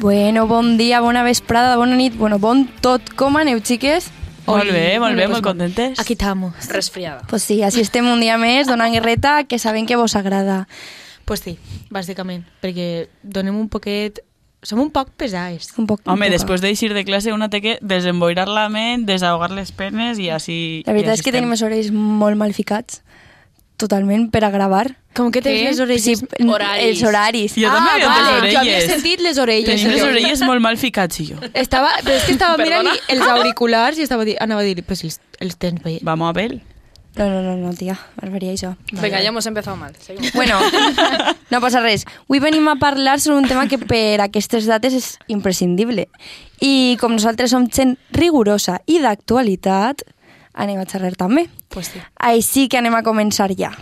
Bueno, bon dia, bona vesprada, bona nit, bueno, bon tot com aneu, xiques? Molt bé, molt bé, molt contentes. Aquí estamos. Resfriada. Pues sí, així estem un dia més donant guerreta que sabem que vos agrada. Pues sí, bàsicament, perquè donem un poquet... Som un poc pesats. Un poc, Home, un poc. després d'eixir de classe una té que desemboirar la ment, desahogar les penes i així... La veritat és que tenim els orells molt mal ficats, totalment, per a gravar. Com que tens Què? les orelles... Ah, n- Horaris. Els horaris. Ah. Jo també havia vale, les orelles. jo havia sentit les orelles. Tenim les Jo- orelles molt mal ficats, i jo. Estava, però és que estava Perdona. mirant els auriculars i estava di anava a dir, però si els, els tens bé. Vamos a ver. No, no, no, no, tia, barbaria això. Venga, ya hemos empezado mal. Seguimos. Bueno, no passa res. Avui venim a parlar sobre un tema que per aquestes dates és imprescindible. I com nosaltres som gent rigorosa i d'actualitat, anem a xerrar també. Pues sí. Així que anem a començar ja.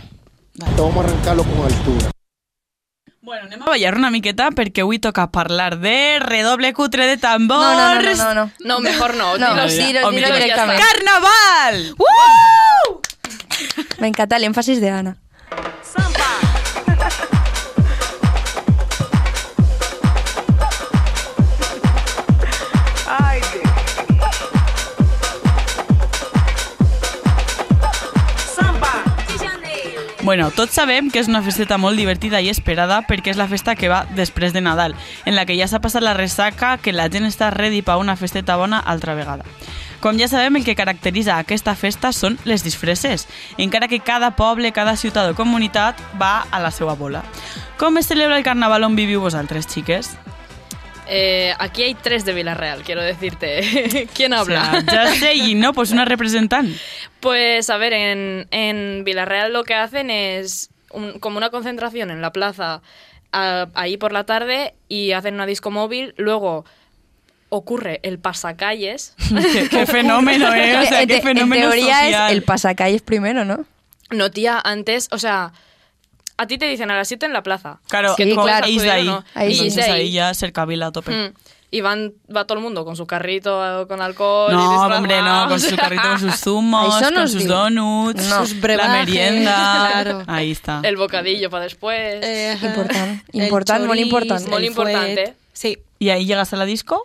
Vamos a arrancarlo con altura. Bueno, anem a ballar una miqueta perquè avui toca parlar de redoble cutre de tambors. No, no, no, no, no. no. No, mejor no. No, dilo. no, dilo, O dilo millor, directament. ¡Carnaval! M'encanta l'èmfasis d'Anna. Bueno, tots sabem que és una festeta molt divertida i esperada perquè és la festa que va després de Nadal, en la que ja s'ha passat la ressaca que la gent està ready per una festeta bona altra vegada. Com ja sabem, el que caracteritza aquesta festa són les disfresses, encara que cada poble, cada ciutat o comunitat va a la seva bola. Com es celebra el carnaval on viviu vosaltres, xiques? Eh, aquí hay tres de Villarreal, quiero decirte. ¿Quién habla? O sea, ya sé, y no, pues una representante. Pues a ver, en, en Villarreal lo que hacen es un- como una concentración en la plaza a- ahí por la tarde y hacen una disco móvil, luego ocurre el pasacalles. qué, qué fenómeno, ¿eh? O sea, en, qué te- en fenómeno teoría social. es el pasacalles primero, ¿no? No, tía, antes, o sea, a ti te dicen a las 7 en la plaza. Claro, Sí, como claro. salís de ahí. Pudieron, ¿no? Ahí sí. Entonces Sí. ahí ya se cabila a tope. Mm, Y van, va todo el mundo con su carrito, eh, con alcohol. y No, disfrazado, hombre, no, o con su sea, carrito, con sus zumos, Eso con nos sus digo. donuts, No. Sus la brebajes, merienda. claro. Ahí está. El bocadillo para después. Eh, Important, important, molt important. Molt importante. eh? Sí. ¿Y ahí llegas a la disco?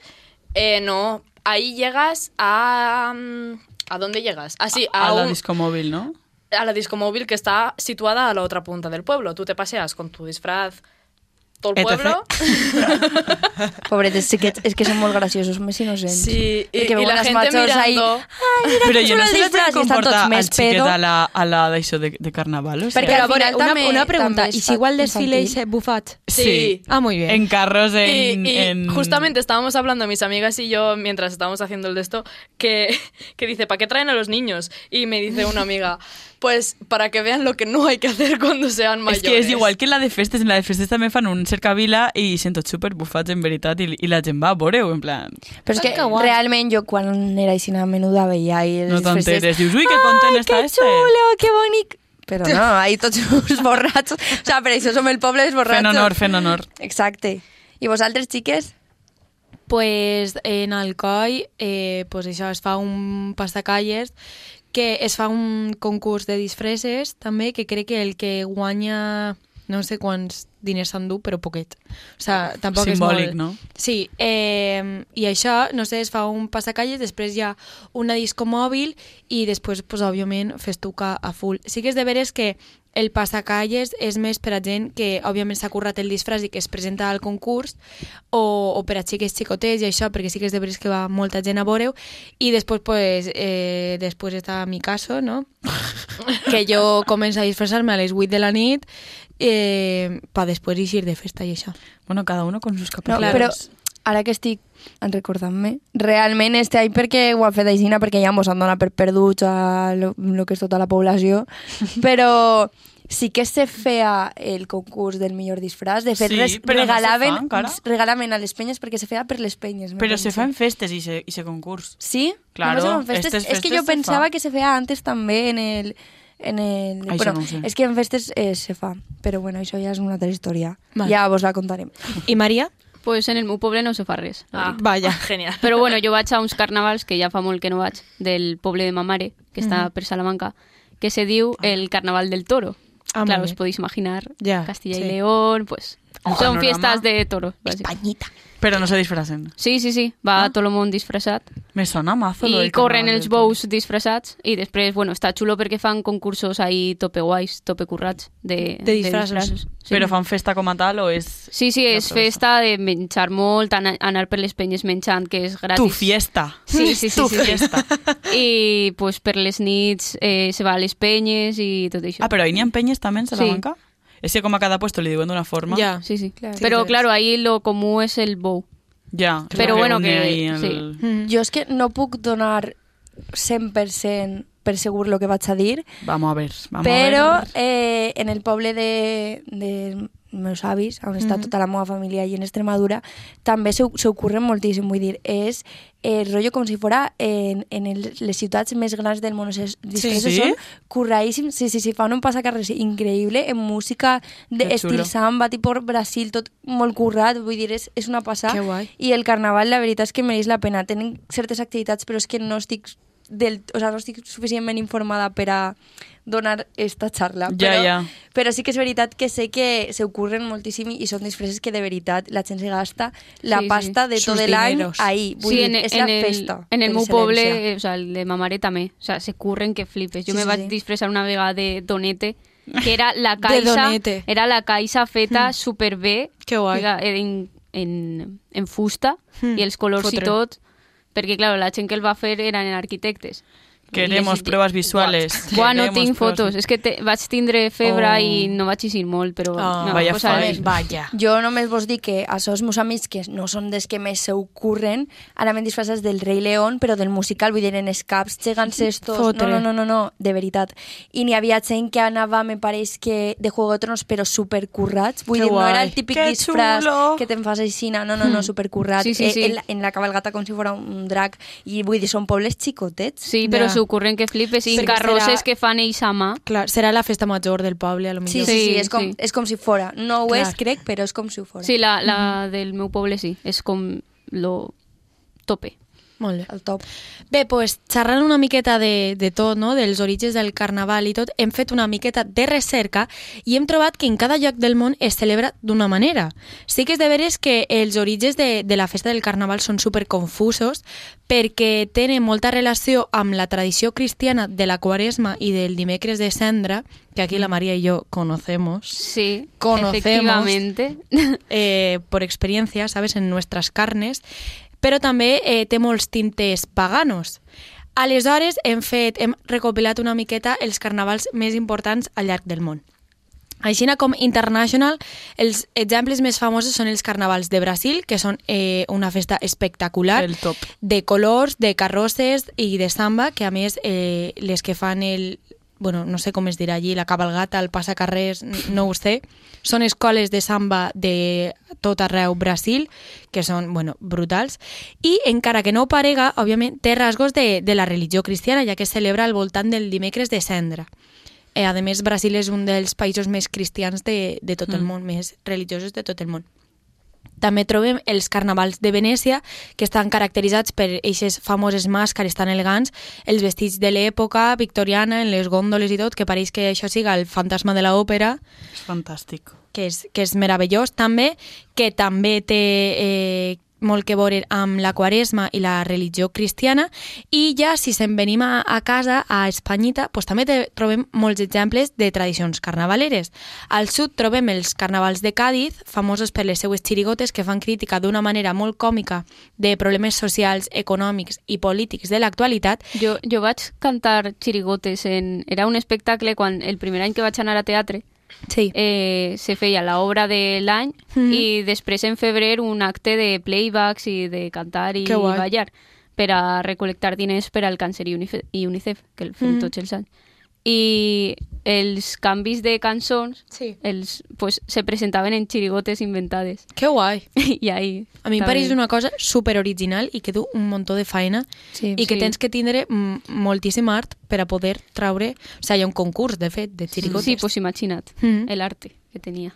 Eh, no, ahí llegas a... mm, ¿A dónde llegas? Ah, sí, a, a la un- disco móvil, ¿no? a la discomóvil que está situada a la otra punta del pueblo. Tú te paseas con tu disfraz todo el ETC. pueblo. Pobretes, sí que, és que són molt graciosos, més innocents. Sí, i- Perquè i veuen la els gent machos ahí, mirando. Ai, mira Pero que yo xulo no el sé disfraz, cómo i estan comporta tots al més chiquet pedo. a la, a la d'això de, de carnaval, o sea. Perquè- Però, a al veure, final una, també- una pregunta. també I es si igual infantil. desfileis eh, bufats? Sí. Ah, muy bien. En carros, en... Y, y en- justamente estábamos hablando mis amigas y yo mientras estábamos haciendo el de esto que, que dice, ¿para qué traen a los niños? Y me dice una amiga, pues para que vean lo que no hay que hacer cuando sean És mayores. que és igual que la de festes, en la de festes també fan un cercavila i sento super bufats en veritat i, i la gent va a veure-ho, en plan... Però és que, Ah, que guai. realment jo quan era així a menuda veia i els No disfresses, t'enteres, dius, ui, que content està Ai, que este." xulo, que bonic. Però no, ahí tots uns borratxos. O sea, per això som el poble dels borratxos. Fent honor, fent honor. Exacte. I vosaltres, xiques? Pues en Alcoi, eh, pues això, es fa un pasacalles que es fa un concurs de disfresses també, que crec que el que guanya no sé quants diners s'endú, però poquet. O sigui, tampoc Simbòlic, és molt... no? Sí, eh, i això, no sé, es fa un passacalles, després hi ha una disco mòbil i després, pues, òbviament, festuca a full. Sí que és de veres que el passacalles és més per a gent que, òbviament, s'ha currat el disfraç i que es presenta al concurs, o, o per a xiques xicotets i això, perquè sí que és de veres que va molta gent a veure i després, pues, eh, després està mi caso, no? que jo començo a disfressar-me a les 8 de la nit eh, pa després eixir de festa i això. Bueno, cada uno con sus No, capacidades. Claro. però ara que estic en recordant-me, realment este any perquè ho ha fet aixina, perquè ja mos han donat per perduts a lo, lo que és tota la població, però sí que se feia el concurs del millor disfraç. De fet, Sí, res, però no se fa regalaven, encara. regalaven a les penyes perquè se feia per les penyes. me Però se penso. fan festes i se, i se concurs. Sí, Claro, només en festes. estes es que festes yo se pensaba fa. que se fea antes també en el... En el Ai, això bueno, no ho sé. és que en festes eh, se fa, però bueno, això ja és una altra història. Vale. Ja vos la contarem. I Maria? Pues en el meu poble no se fa res. la Ah, veritat. Vaya. Genial. Però bueno, jo vaig a uns carnavals que ja fa molt que no vaig, del poble de ma mare, que Mm-hmm. està per Salamanca, que se diu el Carnaval del Toro. Ah, molt claro, bé. os podéis imaginar Ja, Castilla sí. y León, pues Són Panorama. fiestes de toros. bàsic. Espanyita. Però no se disfressen. Sí, sí, sí. Ah. Va tot el món disfressat. Me sona mazo. lo I del corren carnaval els de Toros. bous disfressats i després, bueno, està xulo perquè fan concursos ahí tope guais, tope currats de, De disfraços. Sí. Però fan festa com a tal o és... Sí, sí, és promesa. festa de menjar molt, ana- anar per les penyes menjant, que és gratis. Tu fiesta. Sí, sí, sí. Tu sí, sí. fiesta. I pues, per les nits eh, se va a les penyes i tot això. Ah, però hi ha penyes també en Sí. Salamanca? És que com a cada puesto li diuen d'una forma. Ja. Sí, sí. Claro. Claro. Però, claro, ahí lo comú és el bou. Ja. Però bueno, une que- ahí sí. Mm. Jo és que no puc donar 100% per segur el que vaig a dir, Vamos a ver. Vamos a però ver. eh, en el poble de, de meus avis, on Mm. està tota la meva família i en Extremadura, també se, se ocorre moltíssim, vull dir, és eh, rotllo com si fora en, en el, les ciutats més grans del món. O sigui, sí, sí? sí? són curraíssims, sí, sí, sí, fan un passacarrers increïble en música Que xulo. d'estil samba, tipus Brasil, tot molt currat, vull dir, és, és una passada. Que guai. I el carnaval, la veritat és que mereix la pena. Tenen certes activitats, però és que no estic, del, o sea, no estic suficientment informada per a donar esta xarra. Ja, però, ja. però sí que és veritat que sé que se ocorren moltíssim i són disfresses que de veritat la gent se gasta la Sí, sí. pasta de Sus tot l'any dineros. ahí. Vull sí, dir, és la el, festa. e- En el per meu excel·lència. poble, eh, o sea, el de ma mare també. O sea, se curren que flipes. Jo Sí, me sí, vaig sí. disfressar una vegada de donete, que era la De caixa, donete. Hmm. era la caixa feta superbé. Que guai. Era En, en, en fusta Mm. i els colors Fotre. i tot. Perquè, claro, la gent que el va fer eren arquitectes. Queremos I les- pruebas visuales. Buah, no Queremos tinc pruebas- fotos. És que te, vaig tindre febre Oh. i no vaig eixir molt, però... Ah, me va vaya posar fail. bé. Vaya. Jo només vos dic que això els meus amics, que no són dels que més se ocorren, ara m'han disfressats del Rei León, però del musical, vull dir, en els caps, gegants estos... Fotre. No, no, no, no, no, de veritat. I n'hi havia gent que anava, me pareix que de Juego de Tronos, però supercurrats. Vull Que dir, no era guai. el típic Que disfraç xulo. que te'n fas així, no, no, no, supercurrat. Sí, sí, Eh, sí. En, la, en la cabalgata com si fos un drac. I vull dir, són pobles xicotets. Sí, però Ja. s'ocorren que flipes. I Perquè carrosses serà- que fan ells a mà. Clar, serà la festa major del poble, a lo Sí, sí, millor. sí, Sí, és, com, sí. és com si fora. No ho és, Clar. crec, però és com si ho fora. Sí, la, la del meu poble sí, és com lo tope. Molt bé. El top. Bé, pues, xerrant una miqueta de, de tot, no? dels orígens del carnaval i tot, hem fet una miqueta de recerca i hem trobat que en cada lloc del món es celebra d'una manera. Sí que és de veres que els orígens de, de la festa del carnaval són superconfusos perquè tenen molta relació amb la tradició cristiana de la quaresma i del dimecres de cendra, que aquí la Maria i jo conocemos. Sí, Conocemos. efectivamente. eh, por experiencia, ¿sabes?, en nuestras carnes, però també eh, té molts tintes paganos. Aleshores, hem, fet, hem recopilat una miqueta els carnavals més importants al llarg del món. Així com International, els exemples més famosos són els carnavals de Brasil, que són eh, una festa espectacular El top. de colors, de carrosses i de samba, que a més eh, les que fan el... Bueno, no sé com es dirà allí, la cabalgata, el passacarrers, n- no ho sé. Són escoles de samba de tot arreu Brasil, que són, bueno, brutals. I encara que no ho parega, òbviament, té rasgos de, de la religió cristiana, ja que es celebra al voltant del dimecres de cendra. Eh, a més, Brasil és un dels països més cristians de, de tot el Mm. món, més religiosos de tot el món. També trobem els carnavals de Venècia, que estan caracteritzats per aquestes famoses màscares tan elegants, els vestits de l'època victoriana, en les gòndoles i tot, que pareix que això siga el fantasma de l'òpera, És fantàstic. que és, que és meravellós també, que també té eh, molt que veure amb la quaresma i la religió cristiana, i ja si se'n venim a, a casa, a Espanyita, pues, també te, trobem molts exemples de tradicions carnavaleres. Al sud trobem els carnavals de Càdiz, famosos per les seues xirigotes que fan crítica d'una manera molt còmica de problemes socials, econòmics i polítics de l'actualitat, Jo, jo vaig cantar xirigotes en... Era un espectacle quan el primer any que vaig anar a teatre sí. eh, se feia l'obra de l'any Mhm. i després en febrer un acte de playbacks i de cantar i Que guai. ballar per a recolectar diners per al càncer i UNICEF, i UNICEF que el fem Mhm. tots els anys. I els canvis de cançons sí. els, pues, se presentaven en xirigotes inventades. Que guai! I ahí... A mi em també. pareix una cosa super original i que du un muntó de feina Sí, i que sí. tens que tindre mm, moltíssim art per a poder traure... O sigui, hi ha un concurs, de fet, de xirigotes. Sí, pues imagina't Mhm. el arte que tenia.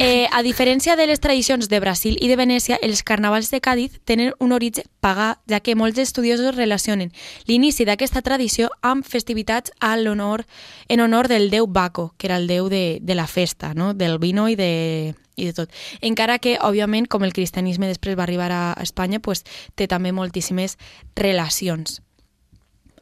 Eh, a diferència de les tradicions de Brasil i de Venècia, els carnavals de Càdiz tenen un origen pagà, ja que molts estudiosos relacionen l'inici d'aquesta tradició amb festivitats a l'honor en honor del déu Baco, que era el déu de, de la festa, no? del vino i de, i de tot. Encara que, òbviament, com el cristianisme després va arribar a a Espanya, pues, té també moltíssimes relacions.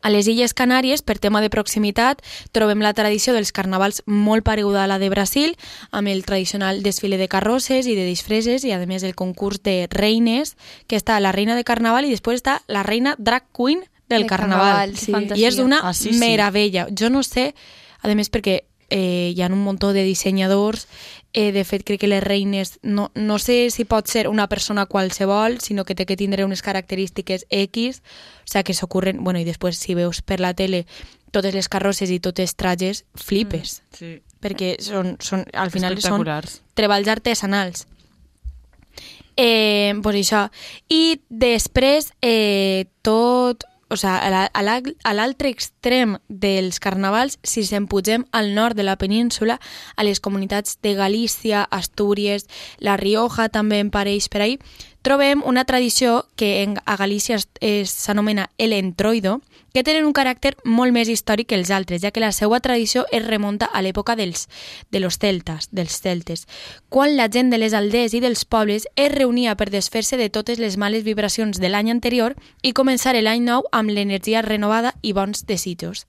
A les Illes Canàries, per tema de proximitat, trobem la tradició dels carnavals molt pareguda a la de Brasil, amb el tradicional desfile de carrosses i de disfresses i, a més, el concurs de reines, que està la reina de carnaval i després està la reina drag queen De del carnaval. carnaval, sí. I és d'una Ah, sí, sí. meravella. Jo no sé, a més perquè eh, hi ha un muntó de dissenyadors, eh, de fet crec que les reines, no, no sé si pot ser una persona qualsevol, sinó que té que tindre unes característiques X, o sigui que s'ocorren, bueno, i després si veus per la tele totes les carrosses i totes trages, flipes, Sí. mm. perquè són, són, al final són Espectaculars. treballs artesanals. Eh, pues això. I després, eh, tot... O sea, a la- a la- a l'altre extrem dels carnavals, si se'n pugem al nord de la península, a les comunitats de Galícia, Astúries, La Rioja també em pareix per ahí, trobem una tradició que en, a Galícia es- es- s'anomena el entroido, que tenen un caràcter molt més històric que els altres, ja que la seva tradició es remunta a l'època dels, de los celtes, dels celtes, quan la gent de les aldees i dels pobles es reunia per desfer-se de totes les males vibracions de l'any anterior i començar l'any nou amb l'energia renovada i bons desitjos.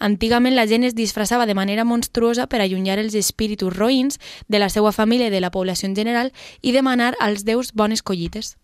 Antigament la gent es disfressava de manera monstruosa per allunyar els espíritus roïns de la seva família i de la població en general i demanar als déus bones collites.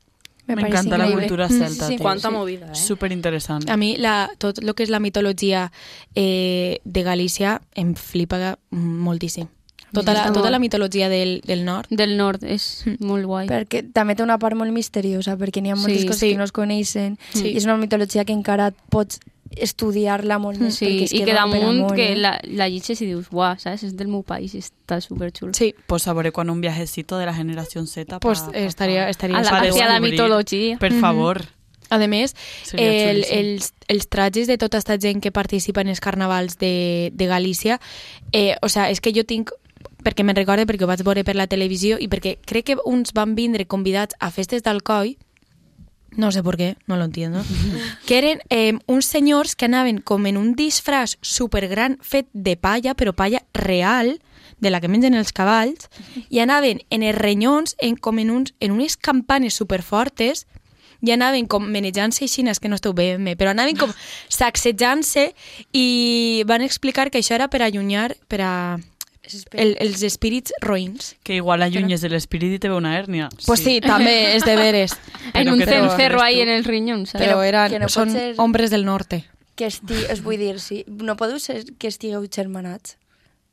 Me, Me parece encanta la increíble. cultura Mm, sí, celta, sí. tío. Cuánta movida, ¿eh? Súper interesante. A mi la, tot el que és la mitologia eh, de Galícia em flipa moltíssim. Tota la, tota la mitologia del, del nord. Del nord, és molt guai. Perquè també té una part molt misteriosa, perquè n'hi ha moltes Sí, coses sí. que no es coneixen, Sí. i és una mitologia que encara pots estudiar-la molt més, Sí, perquè es i que queda per damunt amunt, que eh? la, la llitges i dius, uah, saps? És del meu país, i està superxulo. Sí. Pues sabré con un viajecito de la generación Z. Pues, pa- eh, estaría- estaría pa- A la- para hacia la descubrir. mitología. Por favor. A més, Seria el, xulíssim. els, els trajes de tota aquesta gent que participa en els carnavals de, de Galícia, eh, o sea, és que jo tinc perquè me'n recorde, perquè ho vaig veure per la televisió i perquè crec que uns van vindre convidats a festes d'Alcoi, no sé per què, no lo entiendo, que eren eh, uns senyors que anaven com en un disfraç supergran fet de palla, però palla real, de la que mengen els cavalls, i anaven en els renyons, en, com en, uns, en unes campanes superfortes, i anaven com menejant-se així, és que no esteu bé, bé, però anaven com sacsejant-se i van explicar que això era per allunyar per a el, els espírits roïns. Que igual alluñes del espíritu y te ve una hernia. Pues sí, també és de veres. En Pero un que te lo cencerro crees ahí tú. en el riñón, ¿sabes? Però eren, que no pot són ser- hombres del norte. Que esti... Us vull dir, sí. No podeu ser que estigueu germanats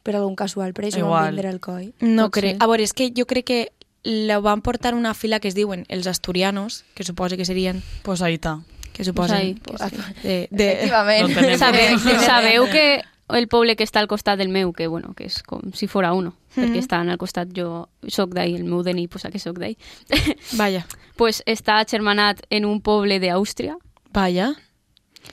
per algun casual, per això Igual. van vindre al coi. No Pot crec. ser. A veure, és que jo crec que la van portar una fila que es diuen els asturianos, que suposa que serien... Pues ahí está. Que suposen... ahí, Pues pues de, de... Efectivament. No tenim. Sabeu, Efectivament. sabeu que el poble que està al costat del meu, que, bueno, que és com si fora uno, perquè estan al costat, jo soc d'ahí, el meu DNI posa que soc d'ahí, Vaya. pues està germanat en un poble d'Àustria, Vaya.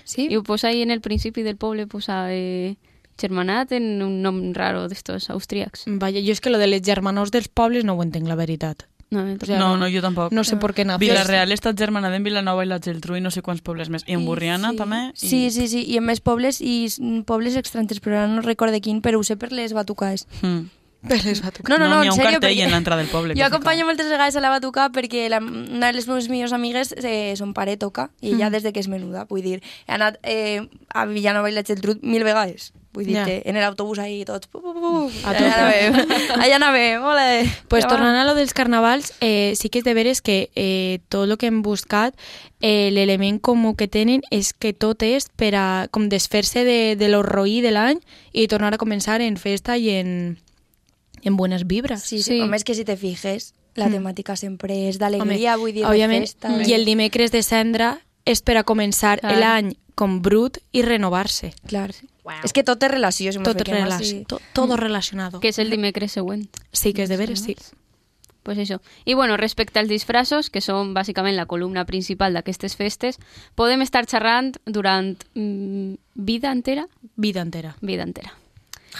Sí? i ho posa pues ahí en el principi del poble, posa eh, germanat en un nom raro d'estos austríacs. Vaya, jo és que lo de les germanos dels pobles no ho entenc, la veritat. No, no, sea, No, no, yo tampoco. No pues sé per què nació. Villarreal está germanada en Vilanova y la Geltrú y no sé cuántos pueblos más. Y en Burriana también. y- Sí, sí, sí, i en més pobles i s- pobles estrangers, però ara no recorde quin, però ho sé per les batucades. Hmm. Però les va tocar. No, no, No, no, n'hi en ha un sèrio. cartell perquè en l'entrada del poble que Jo fica. acompanyo moltes vegades a la batuca perquè la, una de les meves millors amigues, eh, son pare toca, i Mm. ella des de que és menuda, vull dir, he anat eh, a Villanova i la Geltrú mil vegades. Vull dir Ja. que en l'autobús ahí tots... Pu, pu, pu, A allà anàvem, allà anàvem, ole. Pues Ja va. tornant a lo dels carnavals, eh, sí que és de veres que eh, tot el que hem buscat, eh, l'element comú que tenen és que tot és per a com desfer-se de, de l'orroí de l'any i tornar a començar en festa i en, en bones vibres. Sí, sí. Sí. Home, és que si te fijes, la temàtica sempre és d'alegria, vull dir, Mm. òbviament, mm. de festa. eh. i el dimecres de cendra és per a començar Clar. l'any com brut i renovar-se. Clar. És que tot és relació, si mos Tot, fiquem relax, així. to, todo relacionado. que és el dimecres següent. Sí que és de veres, sí. Pues això. I bueno, respecte als disfrassos, que són bàsicament la columna principal d'aquestes festes, podem estar xerrant durant mm, vida entera? Vida entera. Vida entera.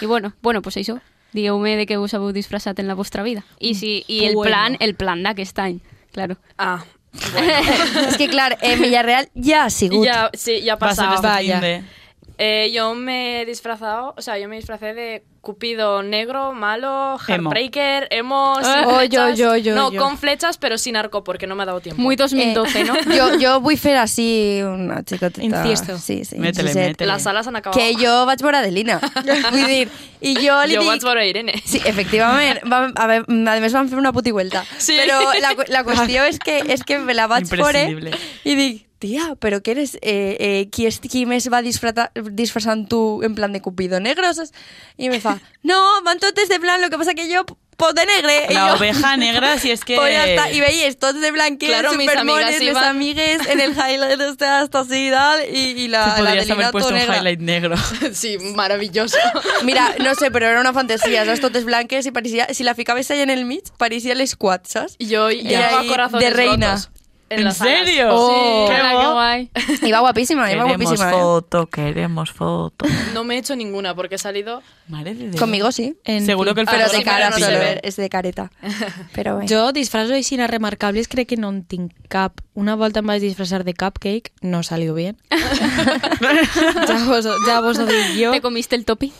I bueno, bueno, pues això. Digueu-me de què us heu disfressat en la vostra vida. I, si, i el Bueno. plan, el plan d'aquest any, claro. Ah, bueno. es que, claro, en Villarreal ya sigut. ya, sí, ya ha Va a ser pasado. este Vaya. fin de- Eh, yo me he disfrazado, o sea, yo me disfracé de Cupido negro, malo, Emo. Ah. Heartbreaker, emo, sin Oh, yo, flechas. yo, yo, No, yo. con flechas, pero sin arco, porque no me ha dado tiempo. Muy 2012, Eh, ¿no? Yo, yo voy fer así una chicoteta. Inciesto. Sí, sí. Métele, inciset. métele. Las alas han acabado. Que jo vaig veure Adelina. Vull dir, i jo li Yo dic... vaig veure Irene. Sí, efectivament. Vam, a, veure, a més vam fer una puti vuelta. Sí. Però la, cu- la qüestió és que, és que me la vaig fore Imprescindible. i dic, tia, però que eres... Eh, eh, qui, és, qui més va disfrata- disfressant tu en plan de cupido negro? saps? I me fa, no, van totes de blanc, lo que pasa que jo pot de negre. I La jo, oveja negra, si es que... Pues ya está. Y veis todos de blanqueo, Claro, mis supermones, amigas mis iban- amigues, en el highlight de este hasta así y tal, y, y Te la, la podrías Adelina haber puesto todo un negra. highlight negro. Sí, maravilloso. Mira, no sé, pero era una fantasía, ¿sabes? Totes blanques y parecía, si la ficabais ahí en el Mitch, parecía el squat, ¿sabes? Yo llevaba ahí, corazones de reina. Oh. rotos ¿En las alas. serio? Sí. Qué Hola, qué guapo. guay. Iba guapísima, iba Queremos guapísima. ¿eh? foto, queremos foto. No me he hecho ninguna porque he salido. Madre de Dios. Conmigo sí, En Seguro fin. que el pero favor, de sí, cara pero no solo, se ve. es de careta. Pero bueno. Jo disfraço així remarcables crec que no en tinc cap. Una volta em vaig disfressar de cupcake, no salió bien. ja, vos, ja vos ho dic jo. ¿Te comiste el topping?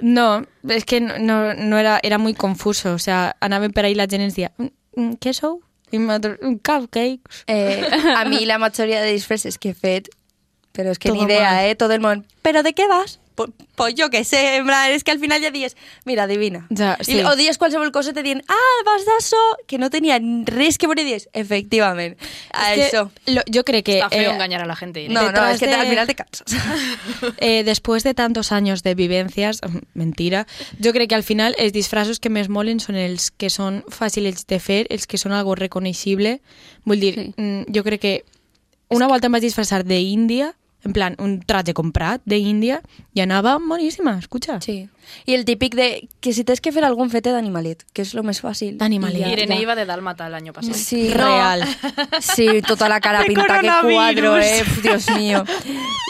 No, es que no- no, no era, era muy confuso. O sea, anaven per ahí la gent i ens dia, "Mm, mm, què sou? I nosaltres, "Mm, cupcakes. Eh, a mí la mayoría de disfraces que he fet, pero es que ni Todo idea, mal. ¿eh? Todo el mundo, ¿pero de qué vas? Pues, pues yo qué sé, en plan, es que al final ya dices, mira, adivina. Ja, sí. I, o dies qualsevol cosa te diuen, ah, vas d'això, que no tenia res que veure i dius, efectivament, a És que això. Lo, jo crec que... Está feo eh, engañar a la gente. Irene. No, no, detrás és que te- de- al final te cansas. Eh, después de tantos años de vivencias, mentira, jo crec que al final els disfraços que més molen són els que són fàcils de fer, els que són algo reconeixible. Vull dir, Sí. mm, jo crec que una volta em vaig disfressar d'Índia, en plan, un traje comprat d'Índia, i anava moníssima, escucha. Sí. I el típic de que si tens que fer algun fete d'animalet, que és lo més fàcil. D'animalet. I Irene ya. iba de Dálmata el año pasado. Sí, Real. Sí, toda la cara De pinta que coronavirus. cuadro, eh, Dios mío.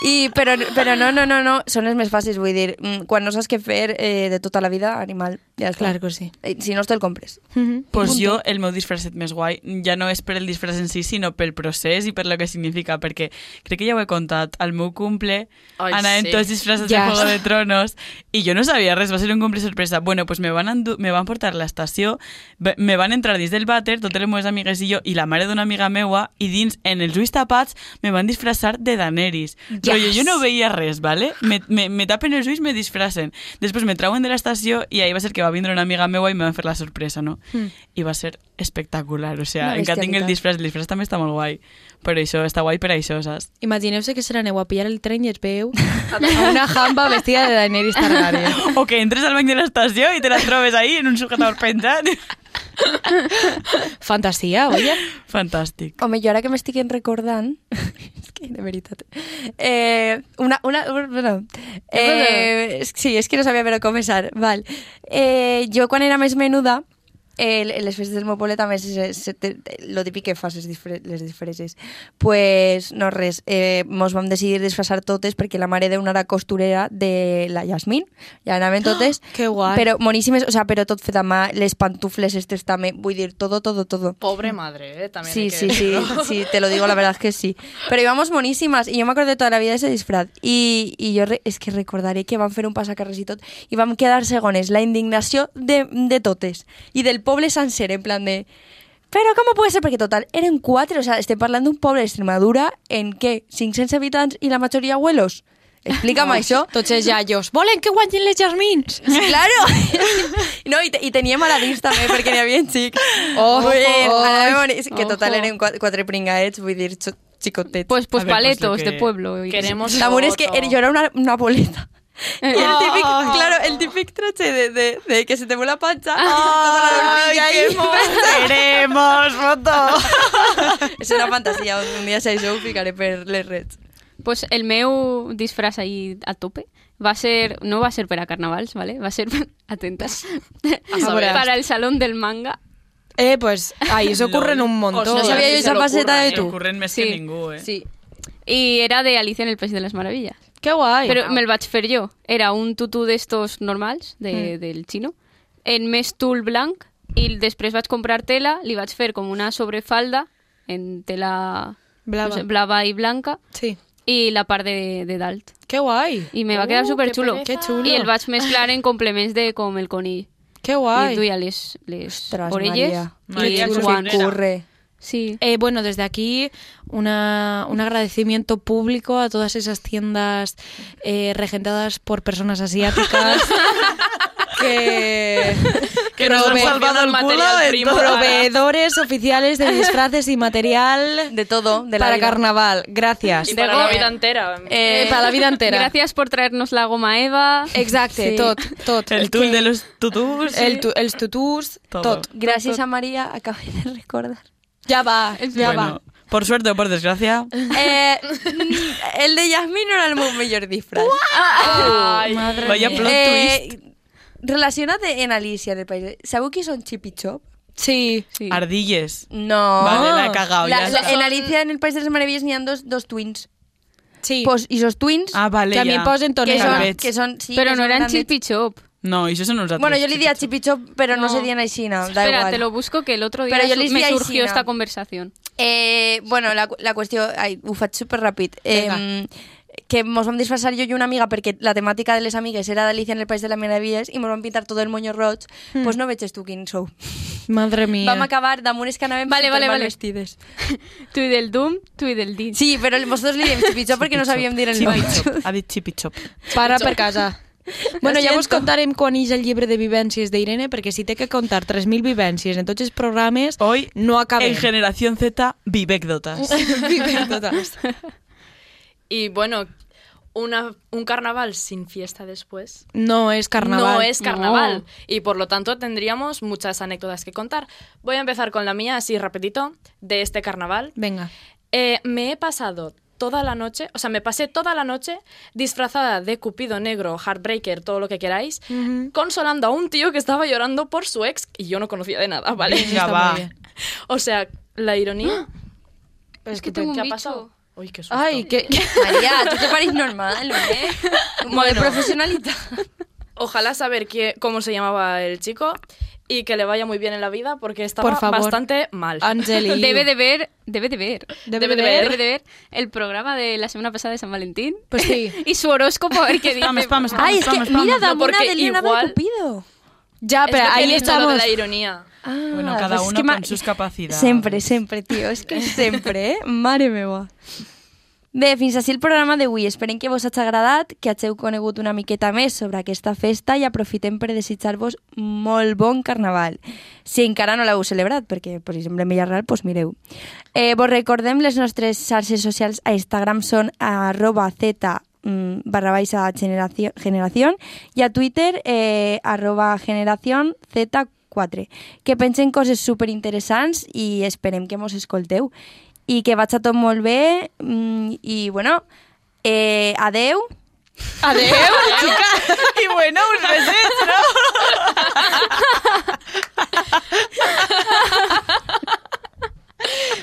I, però, però no, no, no, no, són els més fàcils, vull dir, mm, quan no saps què fer eh, de tota la vida, animal, ja està. Claro que sí. Eh, Si no, te'l compres. Mhm. Pues jo, el meu disfresset més guai, ja no és per el disfress en si, sinó pel procés i per lo que significa, perquè crec que ja ho he contat, al meu cumple Ai, anaven sí. tots disfressats Ja. de Juego de Tronos i jo no sabia res, va ser un cumple sorpresa. Bueno, pues me van, endur, me van portar a l'estació, ve- me van entrar dins del vàter, totes les meves amigues i jo, i la mare d'una amiga meua, i dins, en els ulls tapats, me van disfressar de Daenerys. Però jo, jo no veia res, ¿vale? Me, me, me tapen els ulls, me disfressen. Després me trauen de l'estació i ahir va ser que va vindre una amiga meua i me va fer la sorpresa, no? Mm. I va ser espectacular, o sea, Una encara tinc el bestialitat. disfress, el disfress també està molt guai. Però això està guai per això, saps? Imagineu-se que se n'aneu a pillar el tren i es veu a una jamba vestida de Daenerys Targaryen. O que entres al banc de l'estació i te la trobes ahí en un sujetador penjat. Fantasia, oye. Fantàstic. Home, jo ara que m'estic recordant... és que, de veritat... Eh, una... una bueno, eh, és- sí, és que no sabia per on començar. Val. Eh, jo, quan era més menuda, eh, en les festes del meu poble també se, se, te, lo típic que fas les, disfre, les disfresses. pues, no res, eh, mos vam decidir disfressar totes perquè la mare d'una era costurera de la Yasmin, ja anaven totes. Ah, que guai. Però moníssimes, o sea, però tot fet a mà, les pantufles estes també, vull dir, todo, todo, todo. Pobre madre, ¿eh? También hay Sí, que sí, sí, decirlo. sí, te lo digo, la verdad es que sí. Pero íbamos monísimas y yo me acordé toda la vida de ese disfraz. Y, y yo re- es que recordaré que van fer un passacarrers i tot i vam quedar segones, la indignació de, de totes i del poble sencer, en plan de... Però com pot ser? Perquè total, eren quatre, o sea, estem parlant d'un poble d'Extremadura en què 500 habitants i la majoria abuelos. Explica'm això. Tots els iaios. Volen que guanyin les jasmins! Sí, claro. no, y, te, y tenía maladís també, perquè n'hi havia xic. Ojo. Vull dir, anava boníssim, que total Ojo. eren quatre, quatre pringaets, vull dir, xo- xicotets. Pues, A pues ver, pues paletos lo que- de pueblo. y- Queremos L'amor és Pues, que foto. era, jo era una, una boleta. I el típic, Ay. claro, el típic trache de, de, de que se te mueve la pancha. Ay, qué Queremos foto! És una fantasia, un dia si això ho ficaré per les reds. Pues el meu disfraz ahí a tope va a ser, no va a ser para carnavals, ¿vale? Va a ser, atentas, A saber. para el salón del manga. Eh, pues, ahí se ocurren un montón. No Ostras, sabía si yo se esa lo faceta ocurran, de ¿eh? tú. Corrent més Sí. que ningú, eh? Sí. Y era de Alicia en el País de las Maravillas. Qué guay. Pero me el vaig fer jo. Era un tutú de estos normals, de, del chino, en més tul blanc i després vaig comprar tela, li vaig fer com una sobrefalda en tela Blava. no sé, blava i blanca Sí. i la part de, de dalt. Qué guay. I me va quedar Uh, superxulo. qué Qué chulo. I el vaig mesclar en complements de com el conill. Qué Ay. guay. I duia les, les Ostras, orelles María. i María els Churriguera. guants. Ocurre. Sí. Eh, bueno, desde aquí una- un agradecimiento público a todas esas tiendas eh, regentadas por personas asiáticas que, Que nos han prove- salvado el culo material de primo. todo. proveedores oficiales de disfraces y material De todo, de la para vida. carnaval. Gracias. Y para la vida entera. Eh, para la vida entera. Eh, Gracias por traernos la goma Eva. Exacto, tot, tot. El tul de los tutús. el, tu- els tutús, Todo. tot. Gracias a María, acabé de recordar. Ya va, ya va. Bueno, por suerte o por desgracia. Eh, el de Yasmín no era el meu millor disfraz. Ay, Vaya plot twist. Relacionat en Alicia del País. Sabeu qui són Chip i Chop? Sí. Sí. Ardilles. No. Vale, la he cagado. La- ya la- está. en Alicia en el País de les Meravilles n'hi ha dos, dos twins. Sí. Pues, I els twins, Ah, vale, que a mi ya. em posen que, tonera. són, gavets. que són... Sí, Però que no són eren grandets. Chip i Chop. No, y eso son nosotros. Bueno, jo li dia Chip i Chop, però no, No. se dien així, no, da Espera, igual. te lo busco que el otro día Pero yo su- les vi me ahí, surgió Sina. esta conversación. Eh, bueno, la, la qüestió... Ai, ho faig superràpid. Eh, que mos vam disfressar jo i una amiga perquè la temàtica de les amigues era d'Alicia en el País de les Meravilles i mos vam pintar tot el moño roig, doncs pues no veig tu quin sou. Madre mía. Vam acabar damunt és que anàvem Vale, vale, supermal vale. vestides. Tu i del Doom, tu i del Din. Sí, però vosaltres li diem pitjor perquè Ah, no sabíem dir el Chip nom. i Chop. Ha dit Chip i Chop. Para per casa. Bueno, Lo ja vos siento. contarem quan és el llibre de vivències d'Irene, perquè si té que contar 3.000 vivències en tots els programes, Hoy, no acabem. en Generación Z, vivecdotas. Vivències. Y bueno, una, un carnaval sin fiesta después. No és carnaval. No es carnaval. No. Y por lo tanto tendríamos muchas anécdotas que contar. Voy a empezar con la mía, así rapidito, de este carnaval. Venga. Eh, me he pasado toda la noche, o sea, me pasé toda la noche disfrazada de Cupido Negro, Heartbreaker, todo lo que queráis, Ujú. consolando a un tío que estaba llorando por su ex y yo no conocía de nada, ¿vale? Venga, Está va. muy bien. O sea, la ironía. es que tengo ¡Ah! un ¿Qué ha bicho. pasado? Uy, qué susto. Ai, que... Maria, tu te pareix normal, eh? Como de profesionalitat. Ojalá saber qué- cómo se llamaba el chico y que le vaya muy bien en la vida porque estaba Por favor. bastante mal. Angeli. Debe de ver, debe de ver, Debe de ver. debe de ver el programa de la semana pasada de San Valentín Pues sí. y su horóscopo a ver qué dice. Spam, spam, spam, Ai, és spam, que spam. mira, No, dame una porque de Liana de igual- Cupido. Ja, Es però lo que ahí he dicho, lo estamos. de la ironía. Ah, Bueno, cada pues es uno que con ma- sus capacidades. Sempre, sempre, tio. És que sempre, eh? Mare meva. Bé, fins així el programa d'avui. Esperem que vos hagi agradat, que hageu conegut una miqueta més sobre aquesta festa i aprofitem per desitjar-vos molt bon carnaval. Si encara no l'heu celebrat, perquè, per exemple, en Villarreal, doncs mireu. Eh, vos recordem les nostres xarxes socials a Instagram són arroba z mm, barra baixa generació, generació i a Twitter eh, arroba generació z4 que pensen coses superinteressants i esperem que mos escolteu i que vaig a tot molt bé mm, i bueno eh, adeu Adeu. Y bueno, una vez hecho.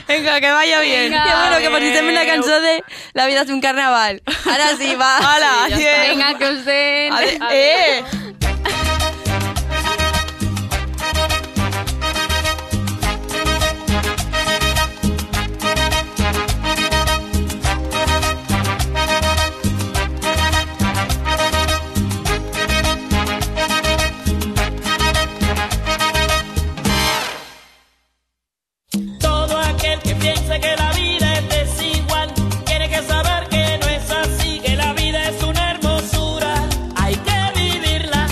Venga, que vaya bien. Venga. que bueno que posem una cançó de La vida és un carnaval ara sí, va Hola, adiós. Venga, que os den. Ade- Ah. eh. Todo aquel que piense que la vida es desigual tiene que saber que no es así, que la vida es una hermosura. Hay que vivirla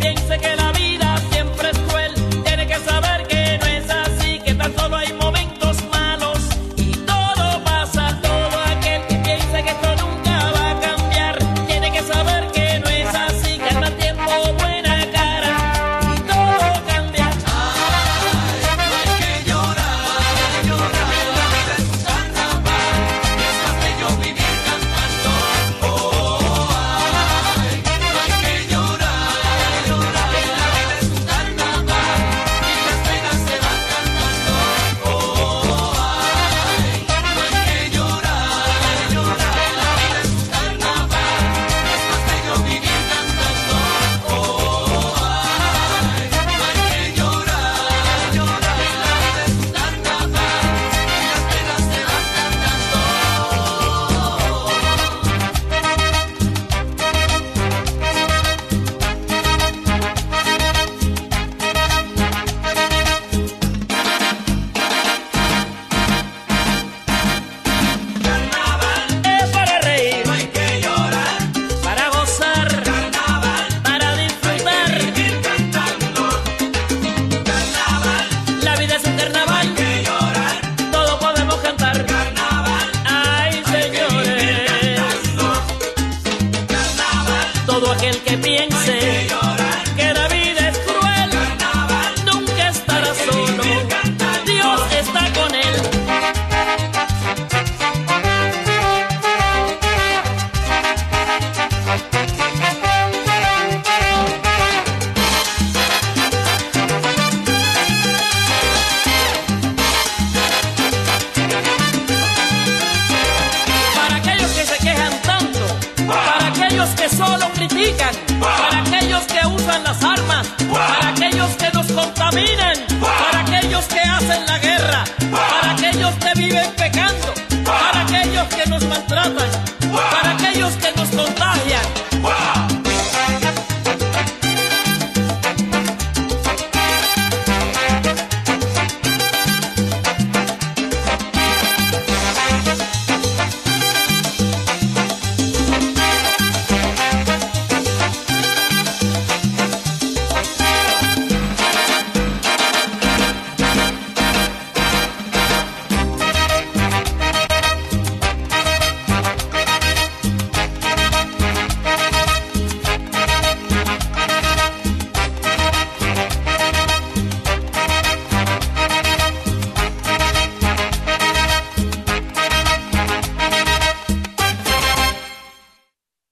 piense que la vida siempre es cruel, tiene que saber que no es así, que tan solo hay momentos malos y todo pasa. Todo aquel que piense que esto nunca va a cambiar, tiene que saber que no es así, que al tiempo buena cara y todo cambia. Es para reír, no hay que llorar, para gozar, carnaval, para disfrutar, vivir cantando, carnaval, la vida es un carnaval, hay que llorar, todos podemos cantar, carnaval, ay señores, carnaval, todo aquel que piense que la vida es cruel, carnaval, nunca estará solo, Dios está con él. para aquellos que se quejan tanto, para aquellos que solo critican, para aquellos que usan las armas, para aquellos que nos contaminan, para aquellos que hacen la guerra, para aquellos que viven pecando, para aquellos que nos maltratan,